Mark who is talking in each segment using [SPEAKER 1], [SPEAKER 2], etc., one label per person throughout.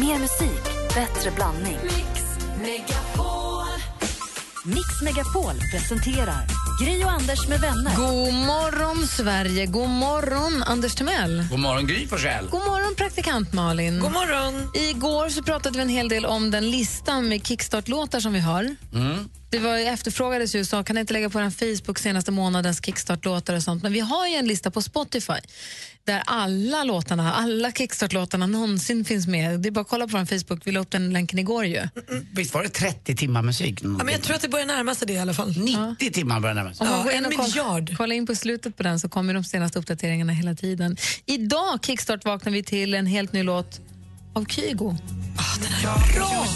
[SPEAKER 1] Mer musik, bättre blandning.
[SPEAKER 2] Mix Megapol.
[SPEAKER 1] Mix Megapol presenterar Gri och Anders med vänner.
[SPEAKER 3] God morgon, Sverige. God morgon, Anders Timell.
[SPEAKER 4] God morgon Gry Forssell.
[SPEAKER 3] God morgon, praktikant Malin. God morgon. Igår så pratade vi en hel del om den lista med kickstart-låtar som vi har. Det var, efterfrågades ju så, kan ni inte lägga på en Facebook senaste månadens kickstart-låtar och sånt. Men vi har ju en lista på Spotify där alla låtarna, alla kickstart-låtarna någonsin finns med. Det är bara att kolla på vår Facebook, vi la upp den länken igår ju.
[SPEAKER 4] Visst var det 30 timmar musik?
[SPEAKER 2] Ja, men jag tror att det börjar närma sig det i alla fall.
[SPEAKER 4] 90 timmar börjar närma sig.
[SPEAKER 3] Om man
[SPEAKER 2] Ja,
[SPEAKER 3] går in
[SPEAKER 2] en
[SPEAKER 3] och kollar-
[SPEAKER 2] miljard.
[SPEAKER 3] Kolla in på slutet på den så kommer de senaste uppdateringarna hela tiden. Idag kickstart vaknar vi till en helt ny låt av Kygo.
[SPEAKER 5] Bra!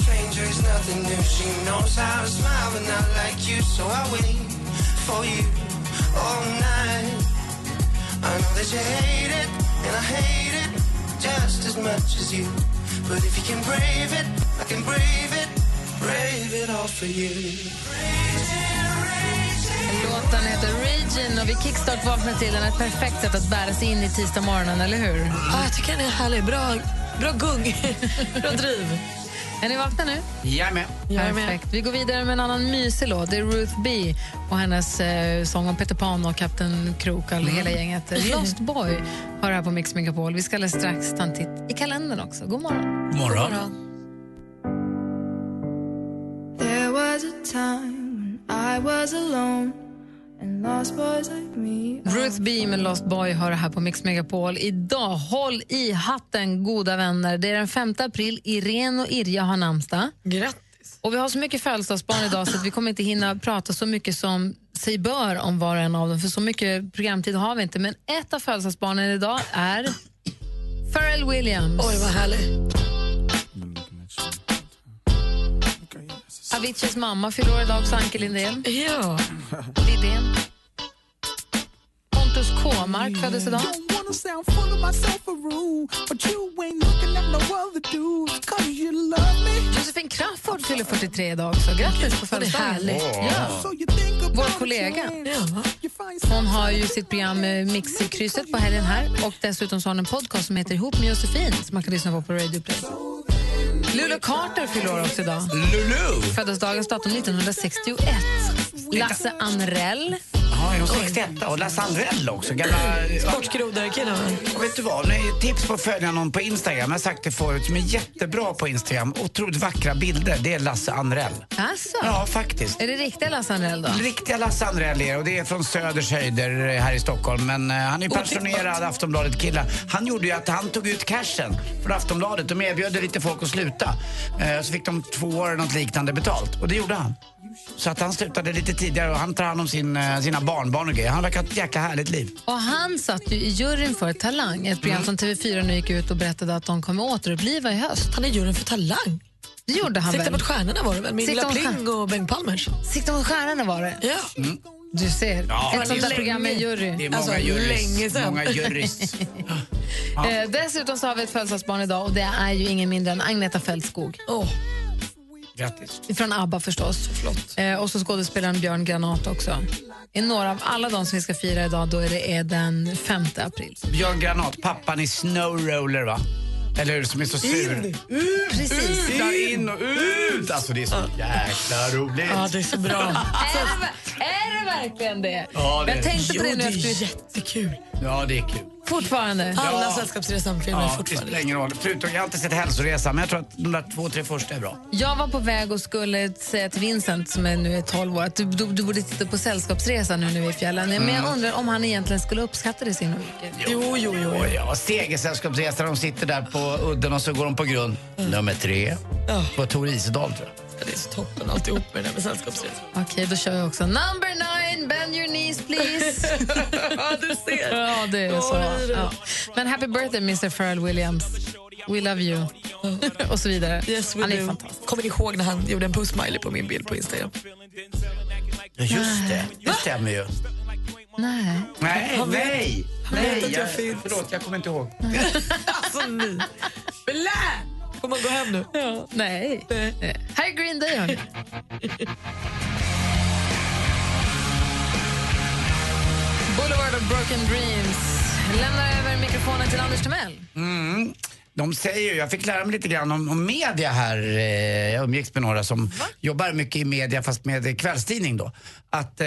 [SPEAKER 3] Låten heter Ragin och vi kickstart vaknar till den. Ett perfekt sätt att bära sig in i tisdag morgonen, eller hur?
[SPEAKER 2] Ja, jag tycker den är härlig. Bra, bra gung. bra driv.
[SPEAKER 3] Är ni vakna nu?
[SPEAKER 4] Jag är med.
[SPEAKER 2] Jag är med.
[SPEAKER 3] Perfekt. Vi går vidare med en annan mysig låt. Det är Ruth B och hennes eh, sång om Peter Pan och Kapten Krok och
[SPEAKER 2] Mm.
[SPEAKER 3] hela gänget. Lost Boy har det här på Mix Megapol. Vi ska alldeles strax ta en titt i kalendern också. God morgon.
[SPEAKER 4] God morgon.
[SPEAKER 6] There was a time when I was alone and lost boys like me.
[SPEAKER 3] Ruth B med Lost Boy har det här på Mix Megapol. Idag, håll i hatten goda vänner. Det är den 5 april, Irene och Irja har namnsdag.
[SPEAKER 2] Grattis.
[SPEAKER 3] Och vi har så mycket födelsedagsbarn idag så att vi kommer inte hinna prata så mycket som sig bör om var och en av dem, för så mycket programtid har vi inte. Men ett av födelsedagsbarnen idag är Pharrell Williams.
[SPEAKER 2] Oj, vad härlig.
[SPEAKER 3] Aviciis mamma fyller år idag också, Anke Lindén.
[SPEAKER 2] Ja.
[SPEAKER 3] Lidén. Pontus Kåmark föddes idag.
[SPEAKER 7] don't wanna sound full of myself a rule, but you ain't looking at no other dudes, cause you love me.
[SPEAKER 3] Josefin Crafoord fyller 43 idag också. Grattis på
[SPEAKER 2] Vad det är
[SPEAKER 3] födelsedagen.
[SPEAKER 2] härligt.
[SPEAKER 7] So you think about
[SPEAKER 3] Vår kollega.
[SPEAKER 7] change.
[SPEAKER 2] Ja.
[SPEAKER 7] You find
[SPEAKER 3] Hon har ju sitt program eh, Mix i krysset på helgen här och dessutom så har hon en podcast som heter Ihop med Josefin som man kan lyssna på på Radio Play. Lulu Carter fyller år också idag.
[SPEAKER 4] Lulu.
[SPEAKER 3] Föddes dagens datum 1961. Lasse Anrell.
[SPEAKER 4] Ja, är hon 61 och Lasse Andrell också. Gamla...
[SPEAKER 2] Sportgrodarkillen, va?
[SPEAKER 4] Och vet du vad, nu är tips på att följa någon på Instagram. Jag har sagt det förut, som är jättebra på Instagram. Otroligt vackra bilder. Det är Lasse Andrell.
[SPEAKER 3] Alltså,
[SPEAKER 4] Ja, faktiskt.
[SPEAKER 3] är det riktiga Lasse Anrell då?
[SPEAKER 4] Riktiga Lasse Andrell är och det är från Söders höjder eh, här i Stockholm. Men eh, han är ju pensionerad Aftonbladet-kille. Han gjorde ju att han tog ut cashen från Aftonbladet. De erbjöd lite folk att sluta. Eh, Så fick de två år eller något liknande betalt. Och det gjorde han. Så att han slutade lite tidigare och han tar hand om sin, eh, sina barnbarn och grejer. Han verkar ha ett jäkla härligt liv.
[SPEAKER 3] Och han satt ju i juryn för Talang, ett program som TV4 nu gick ut och berättade att de kommer återuppliva i höst.
[SPEAKER 2] Han är juryn för Talang.
[SPEAKER 3] Det gjorde han
[SPEAKER 2] Sikta
[SPEAKER 3] väl?
[SPEAKER 2] mot stjärnorna var det väl? Med
[SPEAKER 3] Sikta
[SPEAKER 2] Ingela
[SPEAKER 3] mot stjärn-
[SPEAKER 2] Pling och Bengt Palmers.
[SPEAKER 3] Sikta mot stjärnorna var det.
[SPEAKER 2] Ja.
[SPEAKER 3] Du ser,
[SPEAKER 4] Ja,
[SPEAKER 3] ett
[SPEAKER 4] det
[SPEAKER 3] sånt
[SPEAKER 4] är
[SPEAKER 3] där
[SPEAKER 4] länge.
[SPEAKER 3] program med jury.
[SPEAKER 4] Det är många
[SPEAKER 2] Alltså, länge
[SPEAKER 4] jurys.
[SPEAKER 2] sedan.
[SPEAKER 4] Många jurys.
[SPEAKER 3] Eh, dessutom så har vi ett födelsedagsbarn idag och det är ju ingen mindre än Agneta Fältskog.
[SPEAKER 2] Åh,
[SPEAKER 4] Grattis.
[SPEAKER 3] Från ABBA förstås.
[SPEAKER 2] flott.
[SPEAKER 3] Eh, och så skådespelaren Björn Granat också. I några av alla de som vi ska fira idag då är det är den 5 april.
[SPEAKER 4] Björn Granat, pappan i Snow Roller va? Eller hur? Som är så sur.
[SPEAKER 3] Precis.
[SPEAKER 4] Ut, där, in och ut! Alltså det är så jäkla
[SPEAKER 2] Ja,
[SPEAKER 4] roligt.
[SPEAKER 2] det är så bra.
[SPEAKER 3] Är det, ver- är det verkligen Alltså. det?
[SPEAKER 4] Ja, det är
[SPEAKER 3] Jag tänkte
[SPEAKER 2] Jo,
[SPEAKER 3] på
[SPEAKER 2] det
[SPEAKER 3] det nu
[SPEAKER 2] är
[SPEAKER 3] efter...
[SPEAKER 2] jättekul.
[SPEAKER 4] Ja, det är kul.
[SPEAKER 3] Fortfarande.
[SPEAKER 2] Alla
[SPEAKER 4] Ja.
[SPEAKER 2] Sällskapsresan-filmer
[SPEAKER 4] Ja, det
[SPEAKER 2] fortfarande.
[SPEAKER 4] spelar ingen roll. Förutom, jag har inte sett Hälsoresa, men jag tror att de där två, tre första är bra.
[SPEAKER 3] Jag var på väg och skulle säga till Vincent, som är nu är 12 år, att du, du, du borde titta på Sällskapsresan nu när vi är i fjällen. Men jag undrar om han egentligen skulle uppskatta det så himla mycket.
[SPEAKER 2] Jo, jo, jo.
[SPEAKER 4] Och ja, Segersällskapsresan, de sitter där på udden och så går de på grund. Nummer tre.
[SPEAKER 2] Ja.
[SPEAKER 4] På Tor Isedal tror jag.
[SPEAKER 2] Det är så toppen alltihop med det där med Sällskapsresan.
[SPEAKER 3] Okej, då kör vi också. Number nine, bend your knees please.
[SPEAKER 2] Ja, du ser.
[SPEAKER 3] ja, det är så.
[SPEAKER 2] Ja, det är det.
[SPEAKER 3] Ja. Men happy birthday Mr Pharrell Williams. We love you. och så vidare.
[SPEAKER 2] Yes, we
[SPEAKER 3] han är
[SPEAKER 2] do.
[SPEAKER 3] fantastisk.
[SPEAKER 2] Kommer ni ihåg när han gjorde en puss-smiley på min bild på Instagram?
[SPEAKER 4] Ja, just det. Det stämmer ju.
[SPEAKER 3] Nej.
[SPEAKER 4] Nej,
[SPEAKER 2] vet-
[SPEAKER 4] nej!
[SPEAKER 2] vet
[SPEAKER 4] nej
[SPEAKER 2] att jag finns.
[SPEAKER 4] förlåt, jag kommer inte ihåg.
[SPEAKER 2] Alltså ni! Blä! Får man gå hem nu? Ja.
[SPEAKER 3] Nej.
[SPEAKER 2] Nej.
[SPEAKER 3] Eh, Här är Green Day, hörni. Boulevard of Broken Dreams lämnar över mikrofonen till Anders Timell.
[SPEAKER 4] Mm. De säger ju, jag fick lära mig lite grann om, om media här, eh, jag umgicks med några som jobbar mycket i media fast med eh, kvällstidning då. Att eh,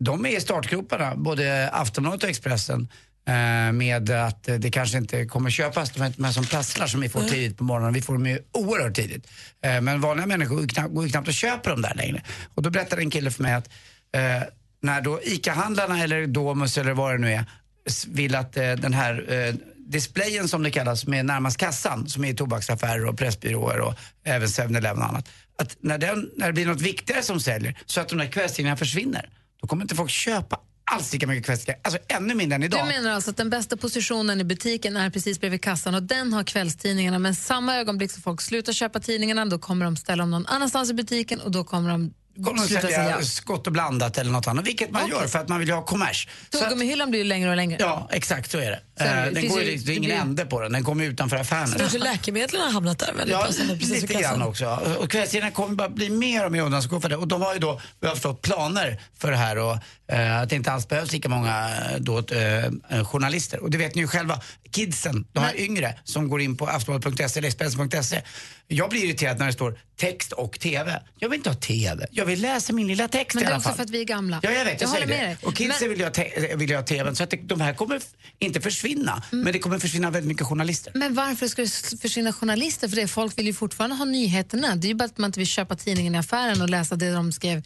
[SPEAKER 4] de är i startgroparna, både Aftonbladet och Expressen. eh, Med att eh, det kanske inte kommer köpas de här, de här som prasslar som vi får tidigt på morgonen. Vi får dem ju oerhört tidigt. Eh, Men vanliga människor går ju knappt, går ju knappt och köper dem där längre. Och då berättade en kille för mig att eh, när då ICA-handlarna eller Domus eller vad det nu är s- vill att eh, den här eh, displayen som det kallas, som är närmast kassan, som är i tobaksaffärer och pressbyråer och även 7-Eleven och annat. Att när, den, när det blir något viktigare som säljer, så att de där kvällstidningarna försvinner, då kommer inte folk köpa alls lika mycket kvällstidningar. Alltså ännu mindre än
[SPEAKER 3] Du
[SPEAKER 4] idag.
[SPEAKER 3] menar alltså att den bästa positionen i butiken är precis bredvid kassan och den har kvällstidningarna men samma ögonblick som folk slutar köpa tidningarna då kommer de ställa dem någon annanstans i butiken och då kommer de
[SPEAKER 4] Kommer de
[SPEAKER 3] sluta sälja.
[SPEAKER 4] sälja skott och blandat eller något annat, vilket man gör för att man vill ju ha kommers. Så att-
[SPEAKER 3] Tuggummihyllan blir ju längre och längre.
[SPEAKER 4] Ja, exakt så är det.
[SPEAKER 3] Så är det.
[SPEAKER 4] Eh,
[SPEAKER 3] Det
[SPEAKER 4] Den
[SPEAKER 3] finns
[SPEAKER 4] går ju,
[SPEAKER 3] ju-
[SPEAKER 4] dit- det är
[SPEAKER 3] det
[SPEAKER 4] ingen
[SPEAKER 3] blir-
[SPEAKER 4] ände på den, den kommer ju utanför affären.
[SPEAKER 2] Kanske läkemedlen har hamnat där väldigt
[SPEAKER 4] Ja,
[SPEAKER 2] passande precis
[SPEAKER 4] lite
[SPEAKER 2] vid kassan.
[SPEAKER 4] grann också. Och kvällstidningarna kommer bara bli mer och mer undanskugga för det. Och de har ju då, vad jag förstår, planer för det här och eh, att det inte alls behövs lika många eh, då, eh, journalister. Och det vet ni ju själva, kidsen, de här yngre som går in på aftonbladet.se eller expressen.se. Jag blir irriterad när det står text och TV. Jag vill inte ha TV, jag vill läsa min lilla text
[SPEAKER 3] Men
[SPEAKER 4] i
[SPEAKER 3] det är
[SPEAKER 4] alla
[SPEAKER 3] också
[SPEAKER 4] fall.
[SPEAKER 3] för att vi är gamla.
[SPEAKER 4] Ja, jag vet. Jag,
[SPEAKER 3] jag håller
[SPEAKER 4] säger
[SPEAKER 3] med
[SPEAKER 4] det.
[SPEAKER 3] dig.
[SPEAKER 4] Och kidsen
[SPEAKER 3] Men-
[SPEAKER 4] vill ju ha, te- vill ju ha TVn. Så att det, de här kommer f- inte försvinna.
[SPEAKER 3] Mm.
[SPEAKER 4] Men det kommer försvinna väldigt mycket journalister.
[SPEAKER 3] Men varför ska det s- försvinna journalister? För det, folk vill ju fortfarande ha nyheterna. Det är ju bara att man inte vill köpa tidningen i affären och läsa det de skrev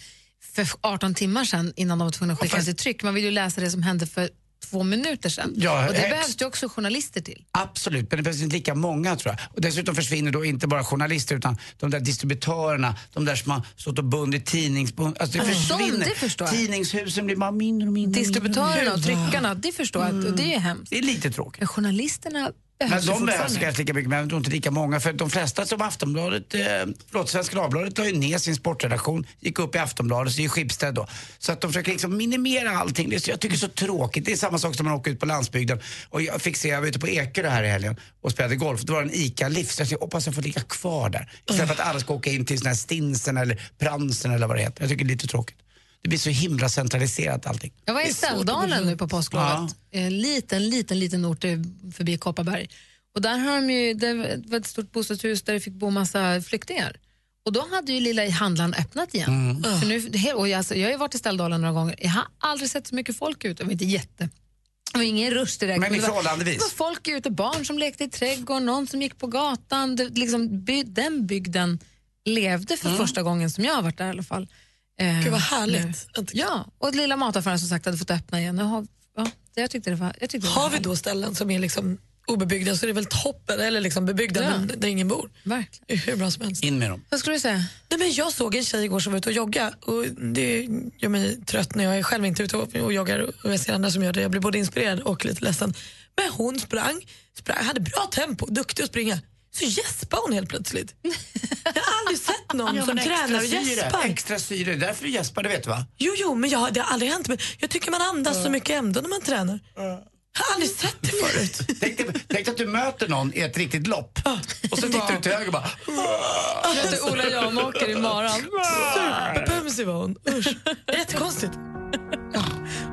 [SPEAKER 3] för 18 timmar sedan innan de var tvungna att skicka den till tryck. Man vill ju läsa det som hände för två minuter sedan.
[SPEAKER 4] Ja,
[SPEAKER 3] och det
[SPEAKER 4] ex-
[SPEAKER 3] behövs ju också journalister till.
[SPEAKER 4] Absolut, men det behövs inte lika många tror jag. Och dessutom försvinner då inte bara journalister utan de där distributörerna, de där som har stått och bundit tidningsbund. Alltså det
[SPEAKER 3] Mm.
[SPEAKER 4] försvinner.
[SPEAKER 3] De, det förstår jag.
[SPEAKER 4] Tidningshusen blir bara mindre och mindre. och mindre
[SPEAKER 3] Distributörerna
[SPEAKER 4] och
[SPEAKER 3] och
[SPEAKER 4] mindre.
[SPEAKER 3] tryckarna, det förstår jag. att- Och det är ju hemskt.
[SPEAKER 4] Det är lite tråkigt.
[SPEAKER 3] Men journalisterna
[SPEAKER 4] Men
[SPEAKER 3] behövs ju
[SPEAKER 4] de behövs
[SPEAKER 3] fortfarande.
[SPEAKER 4] kanske lika mycket, men jag tror inte lika många. För de flesta som Aftonbladet, eh, förlåt, Svenska Dagbladet la ju ner sin sportredaktion, gick upp i Aftonbladet, så är ju Schibsted då. Så att de försöker liksom minimera allting. Det är, så- jag tycker det är så tråkigt. Det är samma sak som man åker ut på landsbygden. Och jag fick se, jag var ute på Ekerö här i helgen och spelade golf. Det var en ICA-lift, så jag tänkte, hoppas jag får ligga kvar där. Istället för att alla ska åka in till sån här Stinsen eller Pransen eller vad det heter. Jag tycker det är lite tråkigt. Det blir så himla centraliserat allting.
[SPEAKER 3] Jag var i Ställdalen nu på påsklovet. En liten, liten, liten ort eh, förbi Kopparberg. Och där har de ju, det var ett stort bostadshus där det fick bo massa flyktingar. Och då hade ju lilla handlaren öppnat igen. För nu, he- och jag, alltså, jag har ju varit i Ställdalen några gånger. Jag har aldrig sett så mycket folk ute. Det var inte jätte. Det var ingen rush direkt.
[SPEAKER 4] Men i
[SPEAKER 3] det var-
[SPEAKER 4] förhållandevis.
[SPEAKER 3] Det var folk ute, barn som lekte i trädgården, någon som gick på gatan. Det, liksom, by, den bygden levde för första gången som jag har varit där i alla fall. Eh,
[SPEAKER 2] Gud vad härligt.
[SPEAKER 3] nu.
[SPEAKER 2] Att-
[SPEAKER 3] Ja, och lilla mataffären som sagt hade fått öppna igen. Jag, har, ja, det- jag tyckte det var, jag tyckte det var
[SPEAKER 2] Har vi då ställen som är liksom obebyggda så är det väl toppen, eller liksom bebyggda
[SPEAKER 3] Ja.
[SPEAKER 2] men där ingen bor.
[SPEAKER 3] Verkligen.
[SPEAKER 2] Det är Hur bra som helst.
[SPEAKER 4] In med dem.
[SPEAKER 3] Vad skulle du säga?
[SPEAKER 2] Nej, men jag såg en tjej igår som var ute och jogga och det gör mig trött när jag är själv inte ute och och joggar och jag ser andra som gör det. Jag blir både inspirerad och lite ledsen. Men hon sprang, sprang hade bra tempo, duktig att springa. Så gäspade hon helt plötsligt. Jag har aldrig sett någon som tränar och gäspar.
[SPEAKER 4] Extra syre, det är därför du gäspar, det vet du va?
[SPEAKER 2] Jo, jo, men jag, det har aldrig hänt. Men jag tycker man andas så mycket ändå när man tränar. Jag har aldrig sett det förut.
[SPEAKER 4] Tänk, dig, tänk dig att du möter någon i ett riktigt lopp och så tittar du till höger och bara
[SPEAKER 3] Jag heter Ola Janåker imorgon.
[SPEAKER 2] Superpumsig var hon. Usch. Jättekonstigt.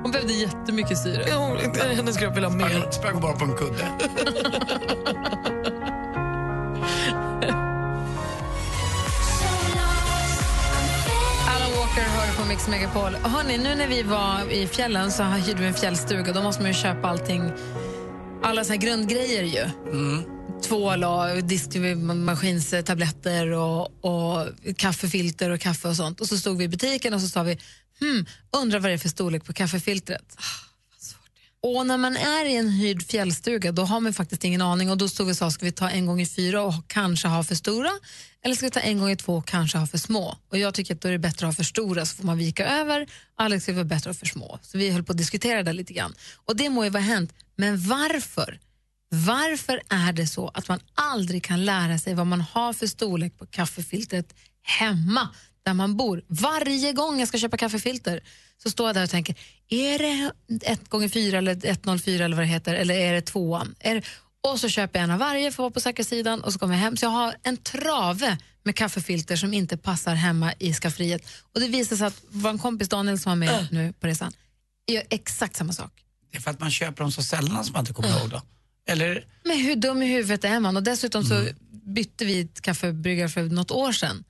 [SPEAKER 3] Hon behövde jättemycket syre.
[SPEAKER 2] Hon- Hennes kropp vill ha mer.
[SPEAKER 4] "Jag sprang bara på en kudde.
[SPEAKER 3] Alan Walker hör på Mix Megapol. Hörrni, nu när vi var i fjällen så hyrde vi en fjällstuga. Då måste man ju köpa allting, alla såna här grundgrejer ju. Tvål och diskmaskinstabletter och, och kaffefilter och kaffe och sånt. Och så stod vi i butiken och så sa vi, hmm, undrar vad det är för storlek på kaffefiltret. Och när man är i en hyrd fjällstuga då har man faktiskt ingen aning och då stod vi och sa, ska vi ta en gång i fyra och kanske ha för stora eller ska vi ta en gång i två och kanske ha för små? Och jag tycker att då är det bättre att ha för stora så får man vika över. Alex tycker det var bättre att ha för små. Så vi höll på att diskutera det lite grann. Och det må ju vara hänt, men varför? Varför är det så att man aldrig kan lära sig vad man har för storlek på kaffefiltret hemma där man bor? Varje gång jag ska köpa kaffefilter så står jag där och tänker, är det 1 gånger 4 eller 104 eller vad det heter, eller är det tvåan? Är det... Och så köper jag en av varje för att vara på säkra sidan och så kommer jag hem. Så jag har en trave med kaffefilter som inte passar hemma i skafferiet. Och det visar sig att vår kompis Daniel som var med nu på resan gör exakt samma sak.
[SPEAKER 4] Det är för att man köper dem så sällan som man inte kommer ihåg dem. Eller?
[SPEAKER 3] Men hur dum i huvudet är man? Och dessutom så bytte vi ett kaffebryggare för något år sedan.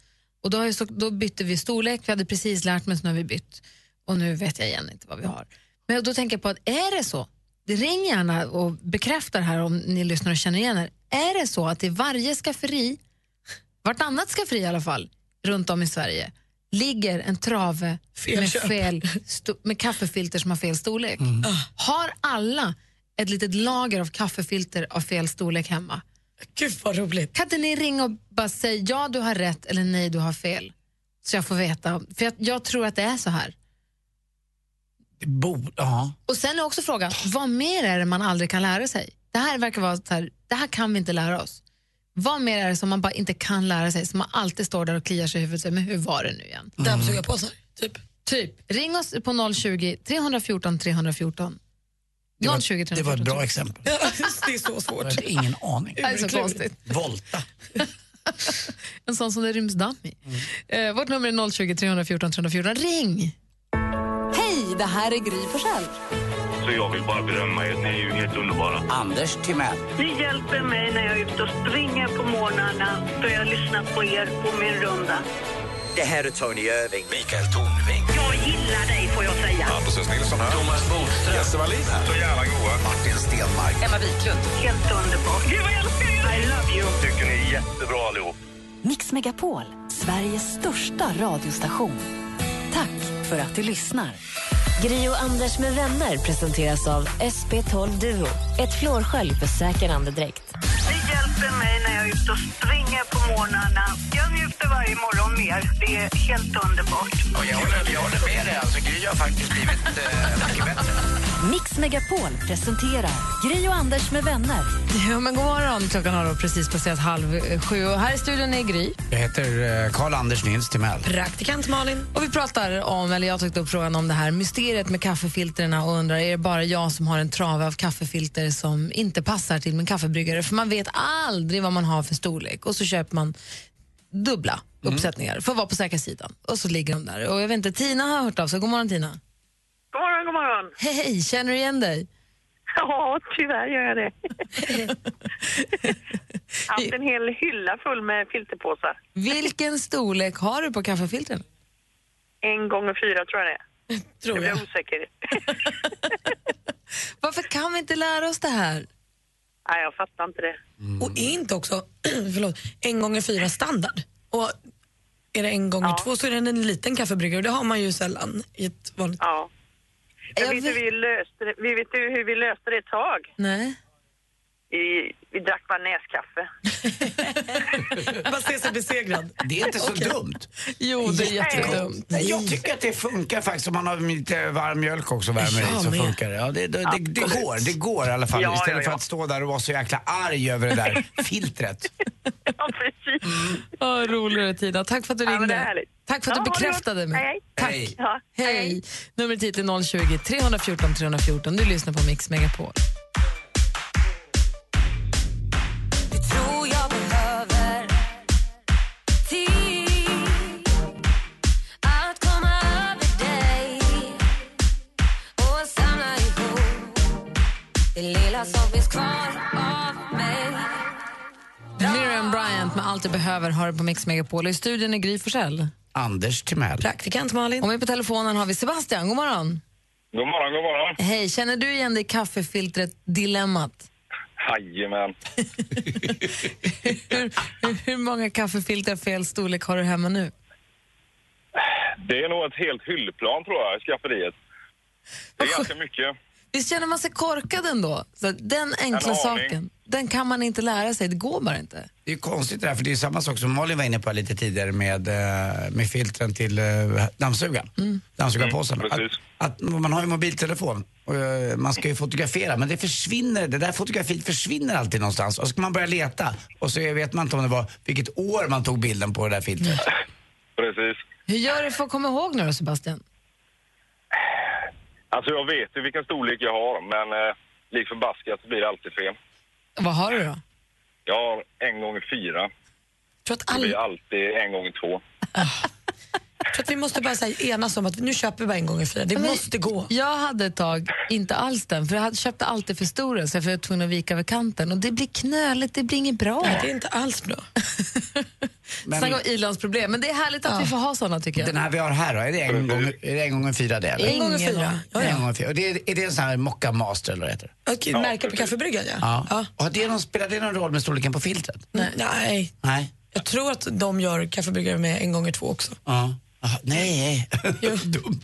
[SPEAKER 3] Och då, har ju så, då bytte vi storlek, vi hade precis lärt mig, så nu har vi bytt. Och nu vet jag igen inte vad vi har. Men då tänker jag på att är det så, ring gärna och bekräfta det här om ni lyssnar och känner igen er. Är det så att i varje skafferi, vartannat skafferi i alla fall, runt om i Sverige, ligger en trave med,
[SPEAKER 2] Felköp.
[SPEAKER 3] fel, sto- med kaffefilter som har fel storlek? Ah. Har alla ett litet lager av kaffefilter av fel storlek hemma?
[SPEAKER 2] Gud vad roligt.
[SPEAKER 3] Kan inte ni ringa och bara säga ja du har rätt eller nej du har fel? Så jag får veta. För jag, jag tror att det är så här.
[SPEAKER 4] Bo, ja.
[SPEAKER 3] Och sen är också frågan, vad mer är det man aldrig kan lära sig? Det här verkar vara så här, det här kan vi inte lära oss. Vad mer är det som man bara inte kan lära sig, som man alltid står där och kliar sig i huvudet och säger, men hur var det nu igen?
[SPEAKER 2] Dammsugarpåsar, typ.
[SPEAKER 3] Typ, ring oss på 020 314 314. 020 314.
[SPEAKER 4] Det var ett bra exempel.
[SPEAKER 2] det är så svårt.
[SPEAKER 4] Jag hade ingen aning.
[SPEAKER 3] Det är så konstigt.
[SPEAKER 4] Volta.
[SPEAKER 3] En sån som det ryms damm i.
[SPEAKER 4] Mm.
[SPEAKER 3] Eh, vårt nummer är 020 314 314. Ring!
[SPEAKER 1] Hej, det här är Gry Forssell.
[SPEAKER 8] Så jag vill bara berömma er. Ni är ju helt underbara.
[SPEAKER 4] Anders Timell.
[SPEAKER 9] Ni hjälper mig när jag är ute och springer på morgnarna för jag lyssnar på er på min runda.
[SPEAKER 10] Det här är Tony Irving.
[SPEAKER 11] Mikael Tornving.
[SPEAKER 9] Jag gillar dig får jag säga.
[SPEAKER 11] Hampus Nilsson här. Thomas Bodström. Jesse Wallin här. Så jävla goa. Martin Stenmark.
[SPEAKER 9] Helt underbart. Gud vad jag älskar er! I love you!
[SPEAKER 8] tycker ni är jättebra allihop.
[SPEAKER 1] Mix Megapol, Sveriges största radiostation. Tack för att du lyssnar. Gri och Anders med vänner presenteras av SP12 Duo. Ett flårskölj för säker andedräkt.
[SPEAKER 9] Ni hjälper mig när jag är ute och springer på morgnarna. Jag njuter varje morgon mer. Det är helt underbart.
[SPEAKER 4] Och jag, håller, jag håller med dig. Alltså, Gry har faktiskt blivit eh, mycket bättre.
[SPEAKER 1] Mix Megapol presenterar Gri och Anders med vänner.
[SPEAKER 3] Ja, men god morgon. Klockan har då precis passerat halv eh, sju och här i studion är Gry.
[SPEAKER 4] Jag heter Karl-Anders Nils Timell.
[SPEAKER 2] Praktikant Malin.
[SPEAKER 3] Och vi pratar om, eller jag tog upp frågan om det här mysteriet med kaffefilterna och undrar, är det bara jag som har en trave av kaffefilter som inte passar till min kaffebryggare? För man vet aldrig vad man har för storlek och så köper man dubbla uppsättningar för att vara på säkra sidan. Och så ligger de där. Och jag vet inte, Tina har hört av sig. God morgon Tina.
[SPEAKER 9] God morgon, god morgon.
[SPEAKER 3] Hej, hej, känner du igen dig?
[SPEAKER 9] Ja, tyvärr gör jag det. Haft en hel hylla full med filterpåsar.
[SPEAKER 3] Vilken storlek har du på kaffefiltren?
[SPEAKER 9] En gånger fyra tror jag det är.
[SPEAKER 2] Tror
[SPEAKER 9] Jag blir
[SPEAKER 2] jag.
[SPEAKER 9] osäker.
[SPEAKER 3] Varför kan vi inte lära oss det här?
[SPEAKER 9] Nej, jag fattar inte det.
[SPEAKER 2] Och är inte också förlåt, en gånger fyra standard? Och är det en gånger
[SPEAKER 9] Ja.
[SPEAKER 2] två så är det en liten kaffebryggare och det har man ju sällan i ett vanligt...
[SPEAKER 9] Ja.
[SPEAKER 3] Jag
[SPEAKER 9] Men vet du,
[SPEAKER 3] vet-
[SPEAKER 9] vi, löste det, vi vet ju hur vi löste det ett tag.
[SPEAKER 3] Nej.
[SPEAKER 9] Vi, vi drack bara näskaffe.
[SPEAKER 2] Bara se sig besegrad.
[SPEAKER 4] Det är inte så dumt.
[SPEAKER 3] Jo, det är jättedumt.
[SPEAKER 4] Nej, jag tycker att det funkar faktiskt. Om man har lite varm mjölk också värmer i
[SPEAKER 2] Jag
[SPEAKER 4] så
[SPEAKER 2] med.
[SPEAKER 4] funkar det. Ja, det, det, det, det
[SPEAKER 9] Absolut.
[SPEAKER 4] går, det går i alla fall.
[SPEAKER 9] Ja,
[SPEAKER 4] Istället
[SPEAKER 9] ja,
[SPEAKER 4] för
[SPEAKER 9] ja.
[SPEAKER 4] att stå där och vara så jäkla arg över det där filtret.
[SPEAKER 9] Ja, precis.
[SPEAKER 3] Ja, roligare Tina. Tack för att du
[SPEAKER 9] Ja, men
[SPEAKER 3] ringde.
[SPEAKER 9] det är härligt.
[SPEAKER 3] Tack för att
[SPEAKER 9] Ja,
[SPEAKER 3] du
[SPEAKER 9] ha det
[SPEAKER 3] bekräftade
[SPEAKER 9] gott.
[SPEAKER 3] mig.
[SPEAKER 9] Hej, hej.
[SPEAKER 3] Tack.
[SPEAKER 4] Hej.
[SPEAKER 9] Ja,
[SPEAKER 3] Hej.
[SPEAKER 9] hej.
[SPEAKER 3] Numret hit är 020 314 314. Du lyssnar på Mix Megapol.
[SPEAKER 1] tror jag behöver tid att komma över dig och samla ihop det lilla som finns kvar av mig
[SPEAKER 3] Miriam Bryant med Allt du behöver har du på Mix Megapol. Och I studion är Gry Forssell.
[SPEAKER 4] Anders Timell.
[SPEAKER 2] Praktikant Malin.
[SPEAKER 3] Och med på telefonen har vi Sebastian. God morgon.
[SPEAKER 8] God morgon, god morgon.
[SPEAKER 3] Hej, känner du igen dig i kaffefiltret-dilemmat?
[SPEAKER 8] Jajamän.
[SPEAKER 3] Hur, hur, hur många kaffefilter av fel storlek har du hemma nu?
[SPEAKER 8] Det är nog ett helt hyllplan tror jag, i skafferiet. Det är ganska mycket.
[SPEAKER 3] Visst känner man sig korkad ändå? Så att den enkla
[SPEAKER 8] aning.
[SPEAKER 3] saken, den kan man inte lära sig. Det går bara inte.
[SPEAKER 4] Det är ju konstigt det där, för det är ju samma sak som Malin var inne på lite tidigare med, eh, med filtren till eh, dammsugaren. Dammsugarpåsen.
[SPEAKER 8] Mm, precis.
[SPEAKER 4] att, att man har ju mobiltelefon och eh, man ska ju fotografera, men det försvinner, det där fotografiet försvinner alltid någonstans. Och så ska man börja leta och så vet man inte om det var vilket år man tog bilden på det där filtret.
[SPEAKER 8] Precis.
[SPEAKER 3] Hur gör du för att komma ihåg nu då, Sebastian?
[SPEAKER 8] Alltså jag vet ju vilken storlek jag har, men eh, lik förbaskat så blir det alltid fel.
[SPEAKER 3] Vad har du då?
[SPEAKER 8] Jag har en gånger fyra.
[SPEAKER 2] Jag tror att
[SPEAKER 8] Det
[SPEAKER 2] all...
[SPEAKER 8] blir alltid en gånger två.
[SPEAKER 2] Så att vi måste bara så här, enas om att nu köper vi bara en gång i fyran. Det
[SPEAKER 3] Men
[SPEAKER 2] måste gå.
[SPEAKER 3] Jag hade ett tag inte alls den, för jag hade, köpte alltid för stora så jag var tvungen att vika över kanten. Och det blir knöligt, det blir inget bra.
[SPEAKER 2] Nej, det är inte alls bra.
[SPEAKER 3] Men... Snacka om i-landsproblem, men det är härligt att vi får ha såna tycker jag.
[SPEAKER 4] Den här vi har här då, är det en gång, är det en gång en fyra det? eller?
[SPEAKER 3] En gång en fyra.
[SPEAKER 4] Mm. Ja, En gång en fyra. Och det är, är det en sån här mocka master eller vad heter det?
[SPEAKER 2] Okej, märka på kaffebryggan ja.
[SPEAKER 4] Ja. Har det någon, spelar det någon roll med storleken på filtret?
[SPEAKER 2] Nej.
[SPEAKER 3] Mm.
[SPEAKER 2] Nej.
[SPEAKER 4] Nej.
[SPEAKER 2] Jag tror att de gör kaffebryggare med en gånger två också.
[SPEAKER 4] Ja. Aha, nej.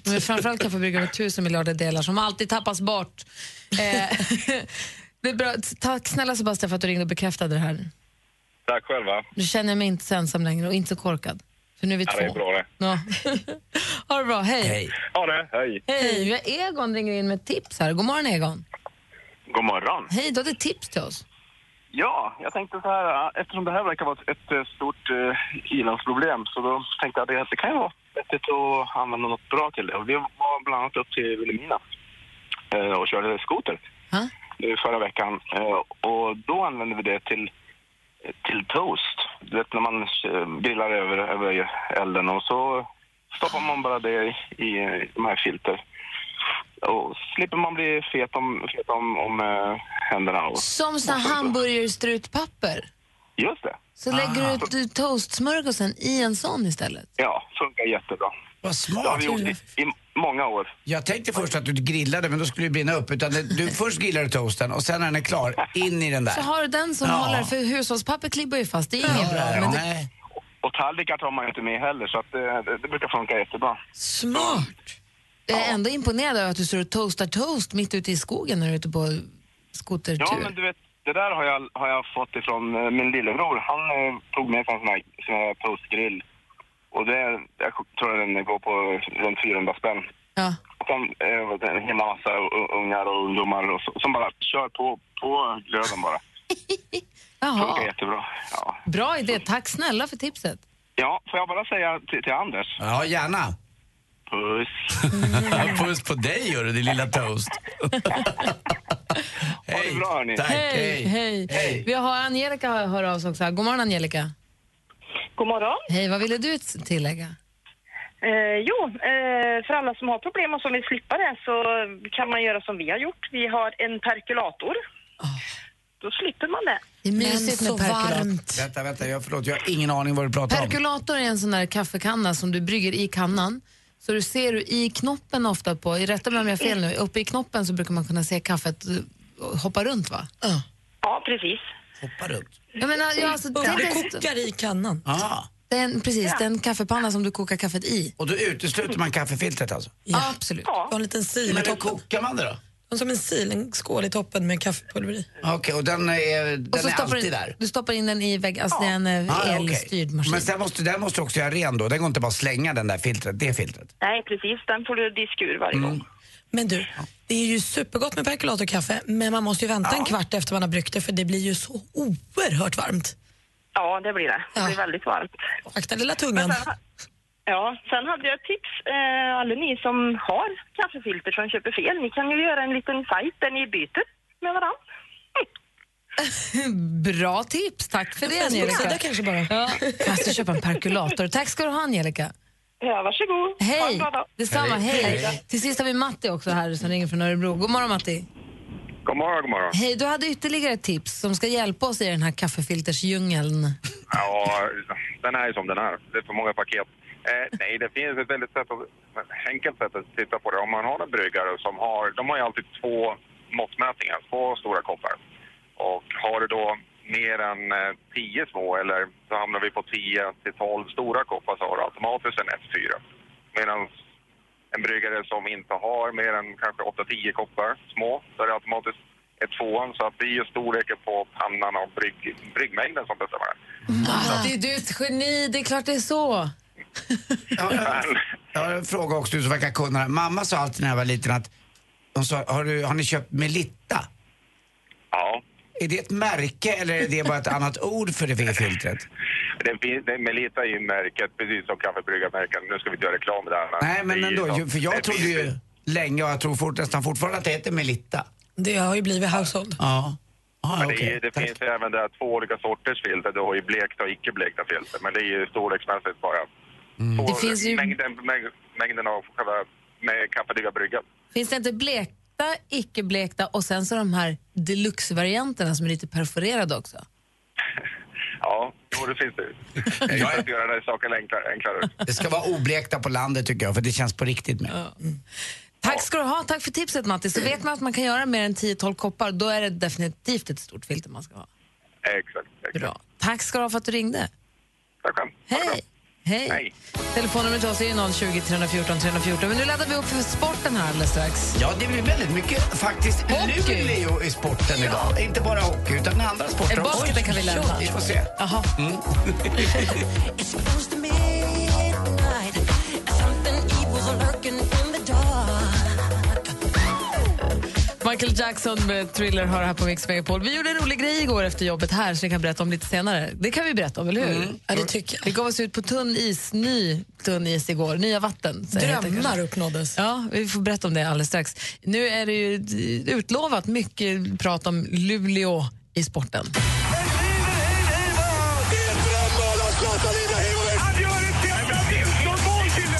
[SPEAKER 3] Men framförallt kaffebryggare med tusen miljarder delar som alltid tappas bort. Eh, det är bra. Tack snälla Sebastian för att du ringde och bekräftade det här.
[SPEAKER 12] Tack själva.
[SPEAKER 3] Nu känner jag mig inte så ensam längre och inte så korkad. För nu är vi
[SPEAKER 12] Ja,
[SPEAKER 3] två.
[SPEAKER 12] det är bra det.
[SPEAKER 3] Ja. ha det bra, hej.
[SPEAKER 4] Hej.
[SPEAKER 12] Ha det, hej.
[SPEAKER 3] Hej, vi har Egon ringer in med ett tips här. God morgon Egon.
[SPEAKER 9] God morgon.
[SPEAKER 3] Hej, du hade ett tips till oss.
[SPEAKER 9] Ja, jag tänkte så här, eftersom det här verkar vara ett, ett eh, stort eh, i-landsproblem så då tänkte jag att det, det kan ju vara vettigt att använda något bra till det. Och vi var bland annat upp till Vilhelmina eh, och körde skoter nu förra veckan. Eh, och då använde vi det till, eh, till toast. Du vet när man eh, grillar över, över elden och så stoppar man bara det i, i de här filter. Och slipper man bli fet om, fet om, om eh, händerna. Och,
[SPEAKER 3] Som sån här hamburgerstrutpapper.
[SPEAKER 9] Just det.
[SPEAKER 3] Så lägger du ut toastsmörgåsen i en sån istället.
[SPEAKER 9] Ja, funkar jättebra.
[SPEAKER 4] Vad smart.
[SPEAKER 9] Det har vi gjort i, i många år.
[SPEAKER 4] Jag tänkte först att du grillade, men då skulle det brinna upp. Utan det, du, först grillar du toasten och sen när den är klar, in i den där.
[SPEAKER 3] Så har du den som håller, för hushållspapper klibbar ju fast. Det är inget bra. Men det,
[SPEAKER 4] Nej.
[SPEAKER 9] Och tallrikar tar man ju inte med heller, så att, eh, det, det brukar funka jättebra.
[SPEAKER 2] Smart!
[SPEAKER 3] jag är ändå imponerad över att du står och toastar toast mitt ute i skogen när du är ute på skotertur.
[SPEAKER 9] Ja, men du vet, det där har jag, har jag fått ifrån eh, min lillebror. Han eh, tog med sig en sån här, sån här toastgrill. Och det, jag tror den går på runt 400 spänn.
[SPEAKER 3] Ja.
[SPEAKER 9] Sen eh, det är en himla massa u- ungar och ungdomar och så, som bara kör på, på glöden bara. Funkar
[SPEAKER 3] Jaha.
[SPEAKER 9] jättebra. Ja.
[SPEAKER 3] Bra idé. Tack snälla för tipset.
[SPEAKER 9] ja, får jag bara säga till, till Anders?
[SPEAKER 4] Ja, gärna.
[SPEAKER 9] Puss. Mm.
[SPEAKER 4] Puss på dig, gör du, din lilla toast.
[SPEAKER 9] Ha det bra, hörni.
[SPEAKER 4] Tack,
[SPEAKER 3] Hej, hej. Vi har Angelica hör hör av sig också. här. God morgon Angelica.
[SPEAKER 13] God morgon.
[SPEAKER 3] Hej, vad ville du t- tillägga?
[SPEAKER 13] Eh, jo, eh, för alla som har problem och som vill slippa det så kan man göra som vi har gjort. Vi har en perkulator. Då slipper man det.
[SPEAKER 3] Det är mysigt med perkulat.
[SPEAKER 4] Vänta, vänta, jag, förlåt, jag har ingen aning vad du pratar om.
[SPEAKER 3] Perkulator är en sån där kaffekanna som du brygger i kannan. Så du ser du i knoppen ofta på, rätta mig om jag har fel nu, uppe i knoppen så brukar man kunna se kaffet eh, hoppa runt va?
[SPEAKER 13] Ja, precis.
[SPEAKER 4] Hoppar upp.
[SPEAKER 3] Jag menar, ja, alltså,
[SPEAKER 2] Ugg-
[SPEAKER 3] tänk dig-
[SPEAKER 2] det kokar i kannan.
[SPEAKER 4] Ah.
[SPEAKER 3] Den, precis,
[SPEAKER 2] Ja.
[SPEAKER 3] den kaffepanna som du kokar kaffet i.
[SPEAKER 4] Och då utesluter man kaffefiltret alltså?
[SPEAKER 2] Ja.
[SPEAKER 3] Absolut.
[SPEAKER 2] Och en liten sil i
[SPEAKER 4] Men hur
[SPEAKER 2] toppen.
[SPEAKER 4] kokar man det då?
[SPEAKER 3] Mm.
[SPEAKER 2] Och Som en sil, en skål i toppen med kaffepulver i.
[SPEAKER 4] Okej, och den är, den
[SPEAKER 3] Och så
[SPEAKER 4] är
[SPEAKER 3] stoppar
[SPEAKER 4] alltid
[SPEAKER 3] du,
[SPEAKER 4] där?
[SPEAKER 3] du stoppar in den i väggen, alltså det är en eh,
[SPEAKER 4] Ah, okej.
[SPEAKER 3] elstyrd maskin.
[SPEAKER 4] Men sen måste, den måste du också göra ren då? Den går inte bara att slänga den där filtret, det filtret?
[SPEAKER 13] Nej, precis. Den får du diska ur varje gång.
[SPEAKER 2] Men du, det är ju supergott med perkulatorkaffe men man måste ju vänta en kvart efter man har bryggt det för det blir ju så oerhört varmt.
[SPEAKER 13] Ja, det blir det. Det blir väldigt varmt.
[SPEAKER 2] Akta lilla tungan.
[SPEAKER 13] Ja, sen hade jag ett tips. Eh, alla ni som har kaffefilter som köper fel, ni kan ju göra en liten sajt där ni byter med varandra.
[SPEAKER 3] Bra tips, tack för det
[SPEAKER 2] En
[SPEAKER 3] Angelica.
[SPEAKER 2] Facebook-sida kanske bara.
[SPEAKER 3] Ja. Jag måste köpa en perkulator. Tack ska du ha Angelica.
[SPEAKER 13] Ja, varsågod. Ha en
[SPEAKER 3] Hej!
[SPEAKER 13] bra dag.
[SPEAKER 3] Detsamma, hej. Till sist har vi Matti också här som ringer från Örebro. God morgon Matti.
[SPEAKER 14] God morgon, god morgon.
[SPEAKER 3] Hej, du hade ytterligare ett tips som ska hjälpa oss i den här kaffefiltersdjungeln.
[SPEAKER 14] Ja, den är ju som den är. Det är för många paket. Eh, nej, det finns ett väldigt sätt att, enkelt sätt att titta på det. Om man har en bryggare som har, de har ju alltid två måttmätningar, två stora koppar. Och har du då mer än eh, 10 små, eller så hamnar vi på 10 till 12 stora koppar, så har du automatiskt en F4. Medan en bryggare som inte har mer än kanske 8-10 koppar små, så är det automatiskt ett tvåan. Så att det är ju storleken på pannan och brygg, bryggmängden som bestämmer det.
[SPEAKER 3] Matti, du är ett geni, det är klart det är så.
[SPEAKER 4] Jag har en fråga också, du som verkar kunna det här. Mamma sa alltid när jag var liten att hon sa, har, du, har ni köpt Melitta?
[SPEAKER 14] Ja.
[SPEAKER 4] Är det ett märke eller är det bara ett annat ord för det här filtret?
[SPEAKER 14] Det finns, det, Melita är ju märket, precis som kaffebryggarmärken. Nu ska vi inte göra reklam där.
[SPEAKER 4] Nej men
[SPEAKER 14] det är ju
[SPEAKER 4] ändå,
[SPEAKER 14] så.
[SPEAKER 4] ju- för
[SPEAKER 14] Det
[SPEAKER 4] jag trodde
[SPEAKER 14] finns
[SPEAKER 4] ju länge och jag tror fort, nästan fortfarande att det heter Melitta.
[SPEAKER 2] Det har ju blivit household.
[SPEAKER 4] Ja. Ah,
[SPEAKER 14] men det, är ju- det finns ju även där två olika sorters filter. Du har ju blekta och icke blekta filter. Men det är ju storleksmässigt bara
[SPEAKER 4] Mm.
[SPEAKER 14] på
[SPEAKER 3] Det finns ju-
[SPEAKER 14] mängden, mäng, mängden av själva med kaffediga bryggan.
[SPEAKER 3] Finns det inte blekta, icke-blekta och sen så de här deluxe-varianterna som är lite perforerade också?
[SPEAKER 14] Ja, jo, det finns det ju. Det är ju för att göra den här saken enklare. enklare.
[SPEAKER 4] Det ska vara oblekta på landet tycker jag, för det känns på riktigt med.
[SPEAKER 3] Tack ska du ha, tack för tipset Matti. Så vet man att man kan göra mer än 10-12 koppar, då är det definitivt ett stort filter man ska ha.
[SPEAKER 14] Exakt. exakt.
[SPEAKER 3] Bra. Tack ska du ha för att du ringde.
[SPEAKER 14] Tack själv.
[SPEAKER 3] Hej. Hej. Telefonnumret till oss är ju 020 314 314. Men nu laddar vi upp för sporten här alldeles strax.
[SPEAKER 4] Ja, det blir väldigt mycket faktiskt Luleå i sporten idag. Inte bara hockey, utan andra sporter
[SPEAKER 3] Eh, basketen kan vi lämna.
[SPEAKER 4] Vi får se.
[SPEAKER 3] Jaha. Michael Jackson med Thriller har här på Mix Megapol. Vi gjorde en rolig grej igår efter jobbet här som vi kan berätta om lite senare. Det kan vi berätta om, eller hur?
[SPEAKER 2] Mm. Ja, det tycker
[SPEAKER 3] Vi gav oss ut på tunn is, ny tunn is igår, nya vatten. säger jag
[SPEAKER 2] Drömmar
[SPEAKER 3] kanske.
[SPEAKER 2] uppnåddes.
[SPEAKER 3] Ja, vi får berätta om det alldeles strax. Nu är det ju utlovat mycket prat om Luleå i sporten.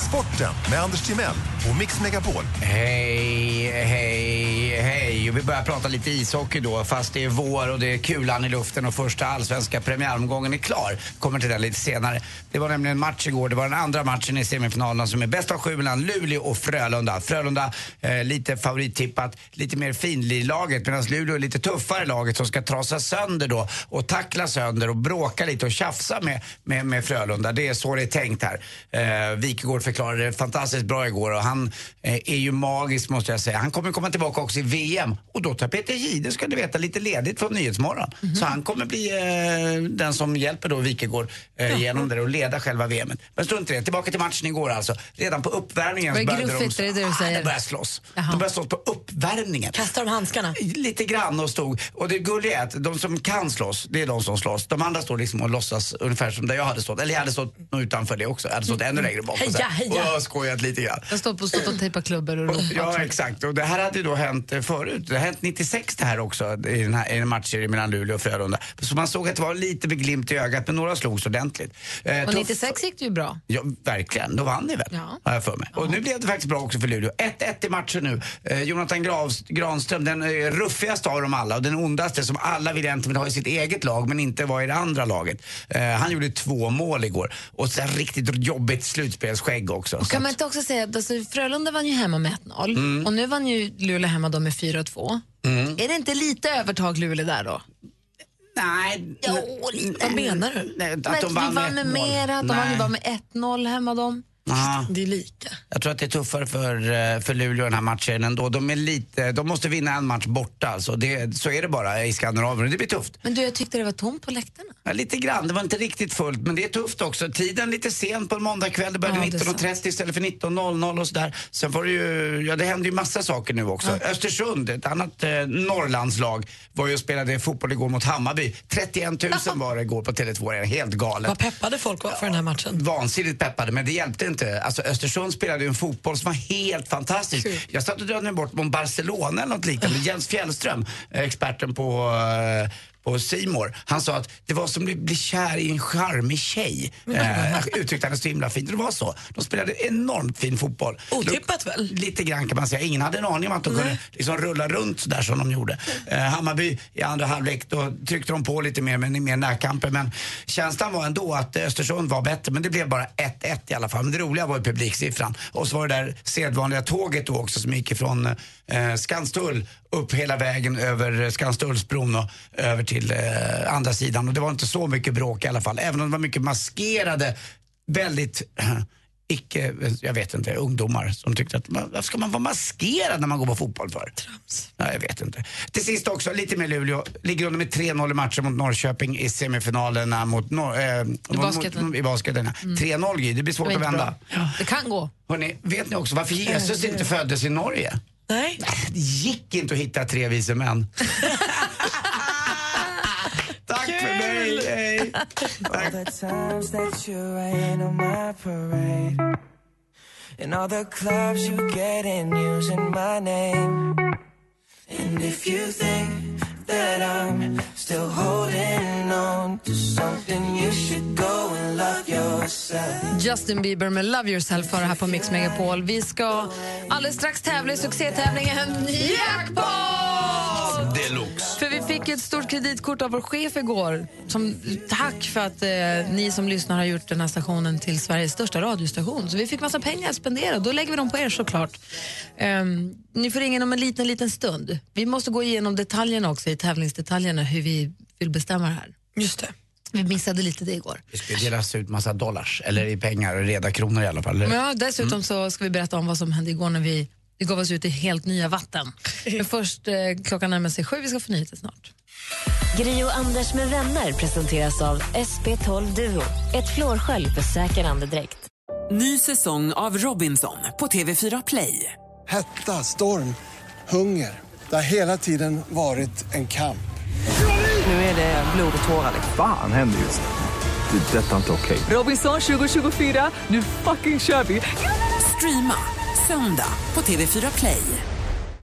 [SPEAKER 15] Sporten med Anders Timell och Mix Megapol.
[SPEAKER 4] Hej, hej, hej. Och Vi börjar prata lite ishockey då, fast det är vår och det är kulan i luften och första allsvenska premiäromgången är klar. Kommer till den lite senare. Det var nämligen en match igår. Det var den andra matchen i semifinalerna som är bäst av sju mellan Luleå och Frölunda. Frölunda eh, lite favorittippat, lite mer finlir-laget medan Luleå är lite tuffare laget som ska trasa sönder då och tackla sönder och bråka lite och tjafsa med, med, med Frölunda. Det är så det är tänkt här. Eh, Wikegård förklarade det fantastiskt bra igår och han eh, är ju magisk måste jag säga. Han kommer komma tillbaka också i VM och då tar Peter Jihde, ska du veta, lite ledigt från Nyhetsmorgon.
[SPEAKER 3] Mhm.
[SPEAKER 4] Så han kommer bli eh, den som hjälper då Wikegård eh, genom det och leda själva VM. -et. Men strunt i det, tillbaka till matchen igår alltså. Redan på uppvärmningen
[SPEAKER 3] Vad är
[SPEAKER 4] så började
[SPEAKER 3] gruffigt?
[SPEAKER 4] de...
[SPEAKER 3] Är det det du säger?
[SPEAKER 4] Ah, de började slåss. De började slåss på uppvärmningen.
[SPEAKER 2] Kastar de handskarna?
[SPEAKER 4] Lite grann och stod. Och det gulliga är att de som kan slåss, det är de som slåss. De andra står liksom och låtsas ungefär som där jag hade stått. Eller jag hade stått nog utanför det också. Jag hade stått ännu längre bak. och så här.
[SPEAKER 3] Mm. Heja, Mm. heja.
[SPEAKER 4] Och skojat lite grann.
[SPEAKER 3] Jag står på stått och tejpar klubbor och ropat.
[SPEAKER 4] Ja, exakt. Och det här hade ju då hänt eh, förut. Det har hänt 96 det här också i den här i en matchserie mellan Luleå och Frölunda. Så man såg att det var lite med glimt i ögat, men några slogs ordentligt. Eh,
[SPEAKER 3] Och
[SPEAKER 4] tuff-
[SPEAKER 3] 96 gick det ju bra.
[SPEAKER 4] Ja, verkligen. Då vann ni väl?
[SPEAKER 3] Ja.
[SPEAKER 4] Har jag för mig. Och nu blev det faktiskt bra också för Luleå. 1-1 i matchen nu. Eh, Jonathan Gravs- Granström, den eh, ruffigaste av dem alla och den ondaste som alla vill egentligen ha i sitt eget lag men inte var i det andra laget. Eh, han gjorde två mål igår. Och sen riktigt jobbigt slutspelsskägg också.
[SPEAKER 3] Och
[SPEAKER 4] Så
[SPEAKER 3] kan man
[SPEAKER 4] att-
[SPEAKER 3] inte också säga att alltså, Frölunda vann ju hemma med 1-0
[SPEAKER 4] Mm.
[SPEAKER 3] och nu vann ju Luleå hemma då med 4-2.
[SPEAKER 4] Mm.
[SPEAKER 3] Är det inte lite övertag Luleå där då?
[SPEAKER 4] Nej.
[SPEAKER 3] Jo, lite.
[SPEAKER 2] Vad menar du?
[SPEAKER 4] Nej,
[SPEAKER 3] Men
[SPEAKER 4] de vann
[SPEAKER 3] vi
[SPEAKER 4] med
[SPEAKER 3] vann med
[SPEAKER 4] ett mål.
[SPEAKER 3] mera, de vann ju
[SPEAKER 4] Nej.
[SPEAKER 3] bara med 1-0 hemma de.
[SPEAKER 4] Ja.
[SPEAKER 2] Det är lika.
[SPEAKER 4] Jag tror att det är tuffare för, eh, för Luleå den här matchen ändå. De, är lite, de måste vinna en match borta alltså. det, Så är det bara i Skandinavien. Det blir tufft.
[SPEAKER 3] Men du, jag tyckte det var tomt på läktarna.
[SPEAKER 4] Ja, lite grann, det var inte riktigt fullt men det är tufft också. Tiden lite sen på en måndagkväll, det började
[SPEAKER 3] Ja, det är
[SPEAKER 4] 19.30 istället för 19.00 och sådär. Sen var det ju, ja det händer ju massa saker nu också. Östersund, ett annat eh, Norrlandslag, var ju och spelade fotboll igår mot Hammarby. 31 000 var det igår på Tele2, helt galet.
[SPEAKER 2] Vad peppade folk var för den här matchen?
[SPEAKER 4] Vansinnigt peppade, men det hjälpte inte. Alltså Östersund spelade ju en fotboll som var helt fantastisk. Jag satt och drömde mig bort om Barcelona eller något liknande. Jens Fjällström, eh, experten på eh, på Simor. Han sa att det var som att bli kär i en charmig tjej. Eh, uttryckte han det så himla fint. Och det var så. De spelade enormt fin fotboll. Otippat väl? Lite grann kan man säga. Ingen hade en aning om att de kunde liksom rulla runt sådär som de gjorde. Eh, Hammarby i andra halvlek, då tryckte de på lite mer, men i mer närkamper. Men känslan var ändå att eh, Östersund var bättre, men det blev bara 1-1 i alla fall. Men det roliga var ju publiksiffran. Och så var det där sedvanliga tåget då också som gick ifrån eh, Skanstull upp hela vägen över eh, Skanstullsbron och över till eh, andra sidan. Och det var inte så mycket bråk i alla fall, även om det var mycket maskerade, väldigt icke, jag vet inte, ungdomar som tyckte att "Men varför ska man vara maskerad när man går på fotboll för? Trams. Nej, jag vet inte. Till sist också, lite med Luleå. Ligger under med 3-0 i matchen mot Norrköping i semifinalerna mot, nor- eh, mot-
[SPEAKER 3] basketen.
[SPEAKER 4] Mot, i basketen. ja.
[SPEAKER 3] Mm.
[SPEAKER 4] 3-0 Gry, det blir svårt
[SPEAKER 3] Det var
[SPEAKER 4] att
[SPEAKER 3] inte
[SPEAKER 4] vända.
[SPEAKER 3] bra. Det kan gå.
[SPEAKER 4] Hörrni, vet ni också varför Jesus inte föddes i Norge?
[SPEAKER 2] Nej.
[SPEAKER 4] Det gick inte att hitta tre vise män. Tack för mig! Hej.
[SPEAKER 8] All the times that you rain on my parade And all the clubs you get in using my name And if you think that I'm still holding on to something You should go and love yourself
[SPEAKER 3] Justin Bieber med Love Yourself för här på Mix Megapol. Vi ska alldeles strax tävla i succétävlingen Jackpot!
[SPEAKER 5] Deluxe.
[SPEAKER 3] För vi fick ett stort kreditkort av vår chef igår. Som tack för att eh, ni som lyssnar har gjort den här stationen till Sveriges största radiostation. Så vi fick massa pengar att spendera. Då lägger vi dem på er såklart. Ehm, ni får ringa in om en liten, liten stund. Vi måste gå igenom detaljerna också i tävlingsdetaljerna hur vi vill bestämma det här.
[SPEAKER 2] Just det.
[SPEAKER 3] Vi missade lite det igår.
[SPEAKER 4] Det ska delas ut massa dollars, eller i pengar, reda kronor i alla fall. eller?
[SPEAKER 3] Men ja, dessutom så ska vi berätta om vad som hände igår när vi, vi gav oss ut i helt nya vatten. Men först, eh, klockan närmar sig sju, vi ska få nyheter snart.
[SPEAKER 1] Gri och Anders med vänner presenteras av SP12 Duo. Ett flårskölj för säker andedräkt.
[SPEAKER 16] Ny säsong av Robinson på TV4 Play.
[SPEAKER 17] Hetta, storm, hunger. Det har hela tiden varit en kamp.
[SPEAKER 16] Nu är det blod och tårar.
[SPEAKER 18] Fan händer just nu. Det. är Detta är inte okej.
[SPEAKER 16] Robinson 2024, nu fucking kör vi! Streama söndag på TV4 Play.